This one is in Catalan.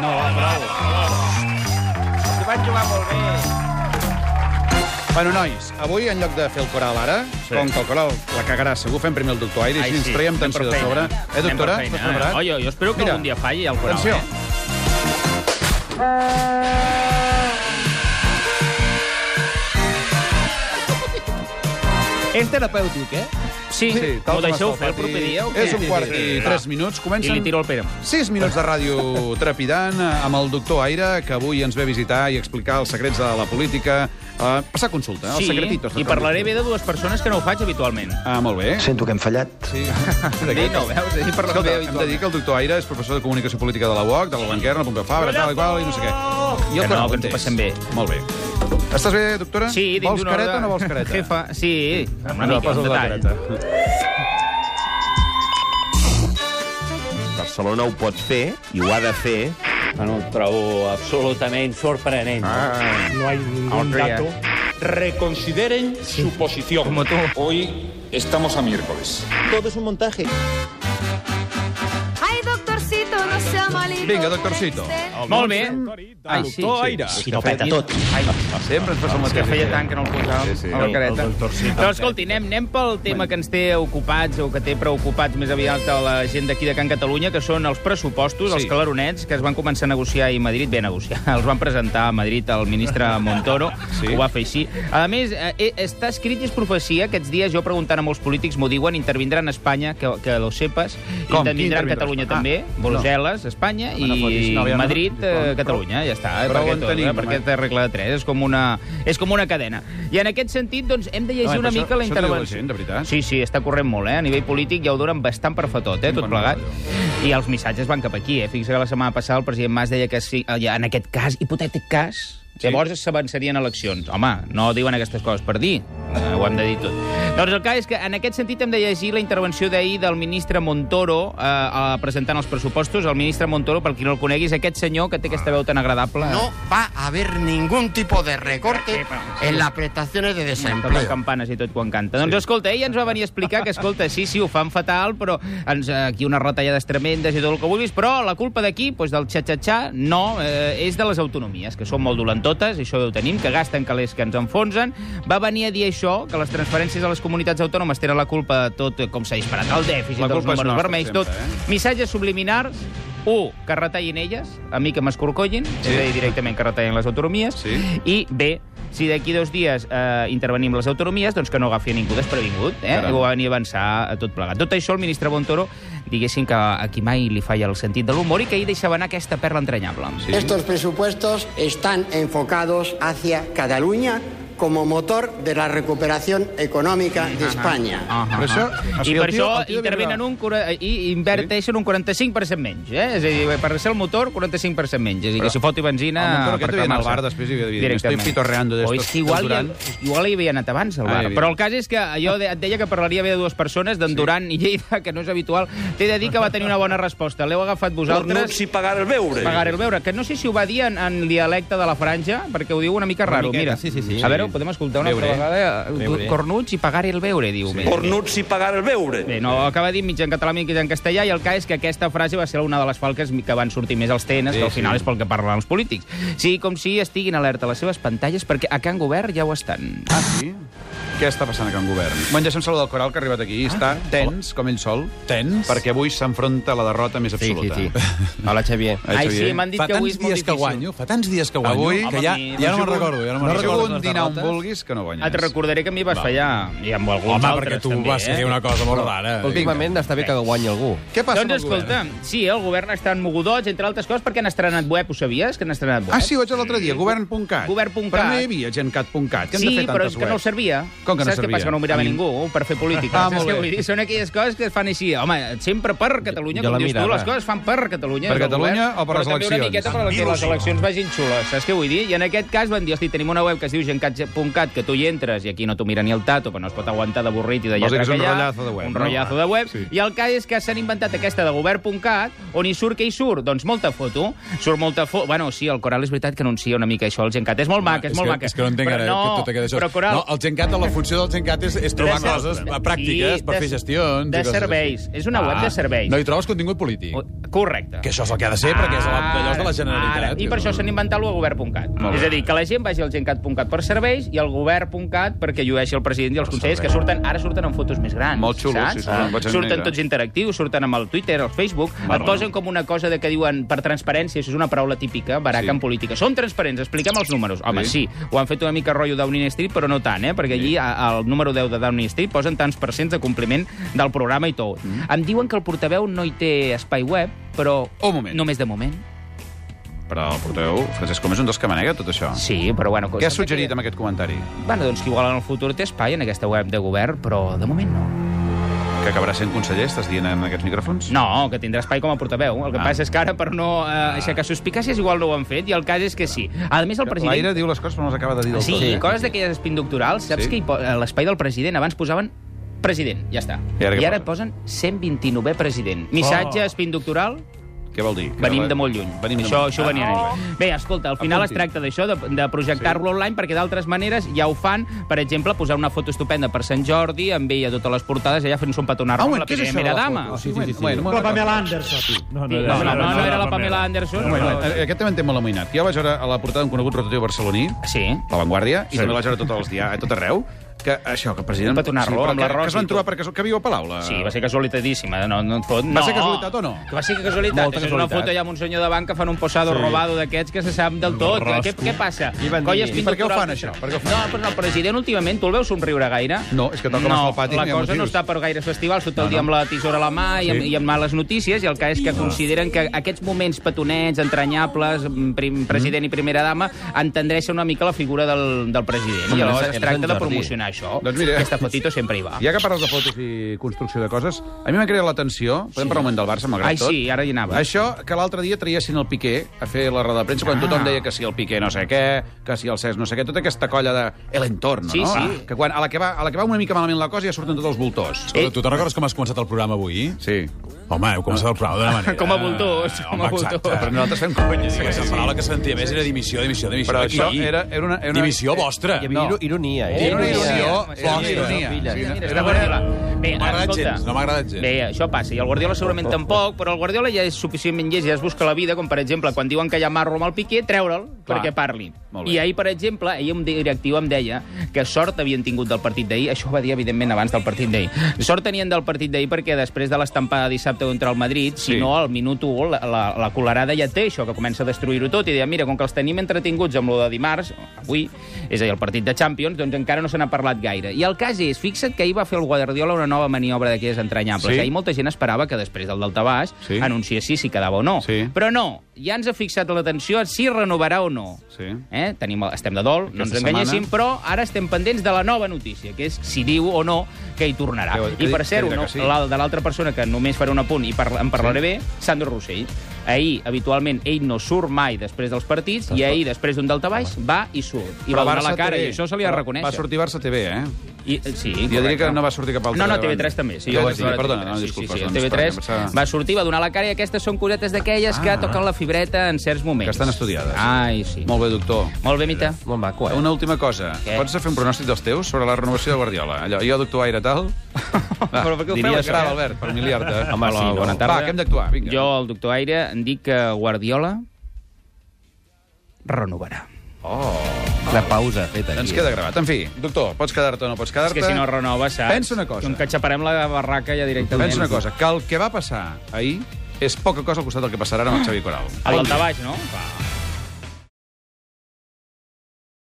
No, bravo. S'hi van jugar molt bé. Bueno, nois, avui en lloc de fer el coral ara, sí. com que el coral la cagarà segur, fem primer el doctor Aire, Ai, així ens sí, traiem anem per tensió de sobre. feina. Eh, Anem per doctora? feina. Estàs preparat? Oi, oi, jo espero que Mira, algun dia falli el coral, Atenció. eh? És terapèutic, eh? Sí, Sí, tal m'ho com deixeu està fer el proper partit. dia o què? És un quart i tres minuts. I Comencen li tiro el Pere. 6 minuts de ràdio trepidant eh, amb el doctor Aire, que avui ens ve a visitar i explicar els secrets de la política. Uh, passar consulta, els secretitos. i parlaré bé de dues persones que no ho faig habitualment. Ah, molt bé. Sento que hem fallat. Sí. Bé, no, veus? Ell parla Escolta, bé hem de habitualment. dir que el doctor Aire és professor de comunicació política de la UOC, de la Blanquerna, el Pompeu Fabra, tal i qual, i no sé què. I Que no, que Coral ens ho Montés. passem bé. Molt bé. Estàs bé, doctora? Sí, dins Vols d'una careta hora... o no vols careta? Jefa, sí, amb una No, mica, posa't un la detall. careta. Barcelona ho pot fer i ho ha de fer. Bueno, ho trobo absolutament sorprenent. Ah. No hay ningún Austria. dato. Reconsideren su posición. Como tú. Hoy estamos a miércoles. Ay, doctorcito, no sea malito. Vinga, doctorcito. Molt bé. Ai, Ah, sí, Doctor sí. Aire. Si no peta tot. Ai, Sempre ens passa que el mateix. feia tant que no el posàvem Sí, sí. a la careta. Però escolti, anem, anem pel tema que ens té ocupats o que té preocupats més aviat a la gent d'aquí de Can Catalunya, que són els pressupostos, Sí. els calaronets, que es van començar a negociar i Madrid ve a negociar. Els van presentar a Madrid el ministre Montoro, Sí. sí. ho va fer així. A més, eh, eh, està escrit i és profecia. Aquests dies jo preguntant a molts polítics m'ho diuen, intervindran a Espanya, que, que lo sepas, Com? Qui intervindran intervindrà Catalunya a Espanya? també, Ah, Brussel·les, Espanya, No i me fotis, no, ja no. Madrid, eh, Però- Catalunya. Ja està, eh, Però perquè on tot, tenim, eh, perquè home? de regla de tres, és com una, és com una cadena. I en aquest sentit, doncs, hem de llegir Home, una però mica això- la això no diu la intervenció. gent, de veritat. Sí, sí, està corrent molt, eh? A nivell polític ja ho donen bastant per fa tot, eh? Tot Bueno, plegat. I els missatges van cap aquí, eh? Fixa que la setmana passada el president Mas deia que sí, eh, ja en aquest cas, hipotètic cas, Sí. llavors s'avançarien eleccions. Home, no diuen aquestes coses per dir. Eh, ho hem de dir tot. Doncs el cas és que en aquest sentit hem de llegir la intervenció d'ahir del ministre Montoro eh, eh, presentant els pressupostos. El ministre Montoro, per qui no el conegui, és aquest senyor que té aquesta veu tan agradable. No va a haber ningún tipo de recorte en las prestaciones de Toca les desempleo. campanes i tot quan canta. Doncs escolta, ell ens va venir a explicar que, escolta, sí, sí, ho fan fatal, però ens, eh, aquí unes retallades tremendes i tot el que vulguis, però la culpa d'aquí, doncs, del xa-xa-xa, no, eh, és de les autonomies, que són molt dolentotes, i això ja ho tenim, que gasten calés que ens enfonsen. Va venir a dir això, que les transferències a les comunitats autònomes tenen la culpa de tot, eh, com s'ha disparat el dèficit, La els culpa és números nostra, vermells, sempre, tot. eh? Missatges subliminars, u, que retallin elles, a mi que m'escorcollin, Sí. sí. és a dir, directament que retallin les autonomies, Sí. i bé, si d'aquí dos dies eh, intervenim les autonomies, doncs que no agafi a ningú desprevingut, eh? Caram. I ho van venir a avançar a tot plegat. Tot això el ministre Montoro, diguéssim que aquí mai li falla el sentit de l'humor i que ahir deixava anar aquesta perla entranyable. Sí. Estos presupuestos están enfocados hacia Cataluña como motor de la recuperación económica de España. Ah, ah, Però ah. això- o I sigui, per el tio- això el tio de intervenen Bilbao. un, cura- eh, i inverteixen un 45% menys, eh? És a dir, per ser el motor, 45% menys. És a dir, que si foti benzina... El Montoro aquest per devia anar al cremar-se. bar després i devia dir, Directament. "Estoy pitorreando d'estos O és que igual, del ja, Durán". igual hi havia anat abans, al Ah, bar. hi havia. Però el cas és que Ah. jo de, et deia que parlaria bé de dues persones, d'en Duran i Lleida, que no és habitual. T'he de dir que va tenir una bona resposta. L'heu agafat vosaltres. si pagar el beure. Pagar el veure, que no sé si ho va dir en, en dialecte de la franja, perquè ho diu una mica raro. miqueta, Mira, sí, sí, sí. a veure, ho podem escoltar una Veure. altra vegada. Veure. Cornuts i pagar el veure, diu. Sí. si pagar el beure. Bé, no, acaba dit mitjà en català, mitjà en castellà, i el cas és que aquesta frase va ser una de les falques que van sortir més als tenes, Sí, sí, que al final sí. sí. és pel que parlen els polítics. Sí, com si estiguin alerta a les seves pantalles, perquè a Can Govern ja ho estan. Ah, sí? Què està passant a Can Govern? Bueno, deixem saludar el Coral, que ha arribat aquí. i Ah. Està tens, com ell sol, Tens? perquè avui s'enfronta a la derrota més absoluta. Hola, Xavier. Eh, Ai, sí, Xavier? m'han dit Fa que avui tants és molt dies que difícil. guanyo, fa tants dies que guanyo, Avui, que ja, home, ja no me'n sigut- recordo, ja no no me'n recordo. recordo un les dinar on derrotes. vulguis que no guanyes. Et recordaré que a mi vas fallar, i amb alguns Home, altres perquè tu també, vas eh? fer una cosa molt rara. Últimament està bé que guanyi algú. Què passa Doncs amb el escolta, govern? sí, eh, el govern està en mogudots, entre altres coses, perquè han estrenat web, ho sabies, que han estrenat web? Ah, sí, ho vaig l'altre dia, govern.cat. Govern.cat. Però no hi havia gencat.cat. Què hem sí, de fer però tantes és que no webs? servia. Com que no Saps servia? què passa? Que no ho mirava A mi- ningú per fer política. Ah, Saps molt què bé. vull dir? Són aquelles coses que es fan així. Home, sempre per Catalunya, Jo com la dius tu, mirava. les coses es fan per Catalunya. Per és el Catalunya govern, o per les Però també una eleccions? miqueta per les, les eleccions vagin xules. Saps què vull dir? I en aquest cas van dir, hosti, tenim una web que es diu gencat- www.radiotrinitat.cat, que tu hi entres i aquí no t'ho mira ni el tato, però no es pot aguantar d'avorrit i de Vols lletra dir que és un que hi ha, rotllazo de web, Un no? rotllazo de web. Sí. I el cas és que s'han inventat aquesta de govern.cat, on hi surt que hi surt? Doncs molta foto. Surt molta foto... Bueno, sí, el Coral és veritat que anuncia una mica això, el Gencat. És molt mac, és, molt que, mac. És que no entenc Però ara que tot aquest això. Però, Coral, No, el Gencat, la funció del Gencat és, és de trobar ser- coses pràctiques Sí, per de- fer gestions. de i coses serveis. així. Ah, És una web de serveis. No hi trobes contingut polític. Correcte. Que això és el que ha de ser, perquè és la- d'allò és de la Generalitat. Ah, Ara. I per això s'han inventat el govern.cat. Molt bé. És a dir, que la gent vagi al gencat.cat per serveis i al govern.cat perquè llueixi el president i els consellers, que surten ara surten amb fotos més grans. Molt xulo, saps? sí, surten amb Ah. fotos surten negres. tots interactius, surten amb el Twitter, el Facebook, et posen com una cosa de que diuen per transparència, això és una paraula típica, baraca Sí. en política. Són transparents, expliquem els números. Home, Sí. sí, ho han fet una mica rotllo Downing Street, però no tant, eh? perquè allí a- al número 10 de Downing Street posen tants percents de compliment del programa i tot. Mm. Em diuen que el portaveu no hi té espai web, però Un moment. només de moment. Però el porteu, Francesc Comés, un dels que manega tot això. Sí, doncs però bueno... Què has suggerit amb aquest comentari? Bueno, doncs que igual en el futur té espai en aquesta web de govern, però de moment no. Que acabarà sent conseller, estàs dient en aquests micròfons? No, que tindrà espai com a portaveu. El que Ah. ah. passa és que ara, per no eh, aixecar suspicàcies, igual no ho han fet, i el cas és que sí. A més, el L'Aire president... Ah, diu les coses però no les acaba de dir del Sí, tot. eh? coses d'aquelles espin doctorals. Saps Sí. sí. que hi po- a l'espai del president abans posaven president, ja està. I ara què I ara posen 129è president. Missatge oh. espin doctoral, Què vol dir? Que Venim la- de molt lluny. Venim això, de molt això ho venia a dir. Bé, escolta, al final Apunti. es tracta d'això, de, de projectar-lo online, perquè d'altres maneres ja ho fan. Per exemple, posar una foto estupenda per Sant Jordi, amb ella a totes les portades, allà fent-se un Ah, petonar amb la primera dama. Oh, Sí, sí, sí. Bueno, bueno, No, no, no, no, no era la Pamela Anderson. bueno, però- eh, aquest també em té molt amoïnat. Jo vaig veure a la portada d'un conegut rotatiu barceloní, Sí. La Vanguardia, i també vaig veure tot els dia, a tot arreu, que això, que el president... Un petonarro però amb la que- Rosa Que es i van tot. trobar perquè... Que viu a Palau, la... Sí, va ser casualitadíssima, no, no et fot. Va no. ser casualitat o no? Que va ser casualitat. Molta Molta és una casualitat. foto allà amb un senyor davant que fan un posado sí. robado d'aquests que se sap del tot. Què, què passa? I van dir- Colles I per què ho fan, pintocròpiques. això? Per què ho fan? No, però el president últimament, tu el veus somriure gaire? No, és que tal com està el pati, la no hi ha cosa no motius. està per gaire festival, tot el dia amb la tisora a la mà i, amb, i amb males notícies, i el cas és que consideren que aquests moments petonets, entranyables, mm, prim, president i primera dama, entendreixen una mica la figura del, del president. I Home, llavors és- es és tracta Sant de Jordi. promocionar això. Doncs mira- Aquesta fotito sempre hi va. Ja que parles de fotos i construcció de coses, a mi m'ha creat l'atenció, podem parlar un moment del Barça, malgrat Ai, tot. sí, ara hi anava. Això que l'altre dia traiessin el Piqué a fer la roda de premsa, Ah. quan tothom deia que si el Piqué no sé què, que si el Cesc no sé què, tota aquesta colla de el entorno, Sí, no? Ah, sí. Que quan, a, la que va, a la que va una mica malament la cosa ja surten tots els voltors. Escolta, tu te'n recordes com has començat el programa avui? Sí. Home, heu començat el programa d'una manera... Com a voltors, com a Home, exacte. voltors. Però nosaltres fem conya. Sí, la paraula que sentia més era dimissió, dimissió, dimissió. Però d'aquí. això era, era una... Era una eh, Dimissió vostra. Hi havia No. no. ironia, eh? Era una ironia. ironia. Home, sí, Era una mira, ironia. mira, Sí, Mira, Era està Guardiola. Bé, No m'ha agradat escolta. gens, no m'ha agradat gens. Bé, això passa, i el Guardiola segurament tampoc, però el Guardiola ja és suficientment llest, ja es busca la vida, com per exemple, quan diuen que hi ha marro amb el Piqué, treure'l perquè parli. Molt bé. I ahir, per exemple, ahir un directiu em deia que sort havien tingut del partit d'ahir, això ho va dir, evidentment, abans del partit d'ahir. Sort tenien del partit d'ahir perquè després de l'estampada dissabte contra el Madrid, Sí. si no, al minut 1, la, la, la colerada ja té això, que comença a destruir-ho tot, i deia, mira, com que els tenim entretinguts amb lo de dimarts, avui, és a dir, el partit de Champions, doncs encara no se n'ha parlat gaire. I el cas és, fixa't que ahir va fer el Guardiola una nova maniobra d'aquelles entranyables. Sí. Ahir molta gent esperava que després del daltabaix Sí. sí. anunciessis si quedava o no. Sí. Però no, ja ens ha fixat l'atenció a si renovarà o no. Sí. Eh? Tenim, estem de dol, no ens Aquesta enganyéssim, però setmana. ara estem pendents de la nova notícia, que és si diu o no que hi tornarà. Que- que I di- per que ser-ho, dirà no, que sí. la- de l'altra persona, que només faré un apunt i parla, en parlaré sí. bé, Sandro Rossell. Ahir, habitualment, ell no surt mai després dels partits, i ahir, després d'un daltabaix, va i surt. I va donar la cara, i això se li ha de reconèixer. Va sortir Barça TV, eh? I, sí, Jo diria que no va sortir cap altre... No, no, TV3 també. Sí, TV3, jo vaig veure perdona, TV3, no, sí, disculpes, Sí, sí, doncs, TV3 perquè em pensava- va sortir, va donar la cara i aquestes són cosetes d'aquelles que toquen la fibreta en certs moments. Ah. Que estan estudiades. Ai, sí. Molt, Molt bé, doctor. Molt bé, Mita. Molt maco, eh? Una última cosa. Què? Pots fer un pronòstic dels teus sobre la renovació de Guardiola? Allò, jo, doctor Aire, tal... Va, Però per què ho diria feu, això, això? Albert, per miliar-te. Home, sí, no. bona tarda. Va, que hem d'actuar, vinga. Jo, el doctor Aire, em dic que Guardiola renovarà. La pausa feta Ens aquí. queda gravat. En fi, doctor, pots quedar-te o no pots És quedar-te? que si no renova, saps? Pensa una cosa. Com que xaparem la barraca ja directament. Pensa una cosa, que el que va passar ahir és poca cosa al costat del que passarà ara amb el Xavi Coral. El daltabaix, no? Va.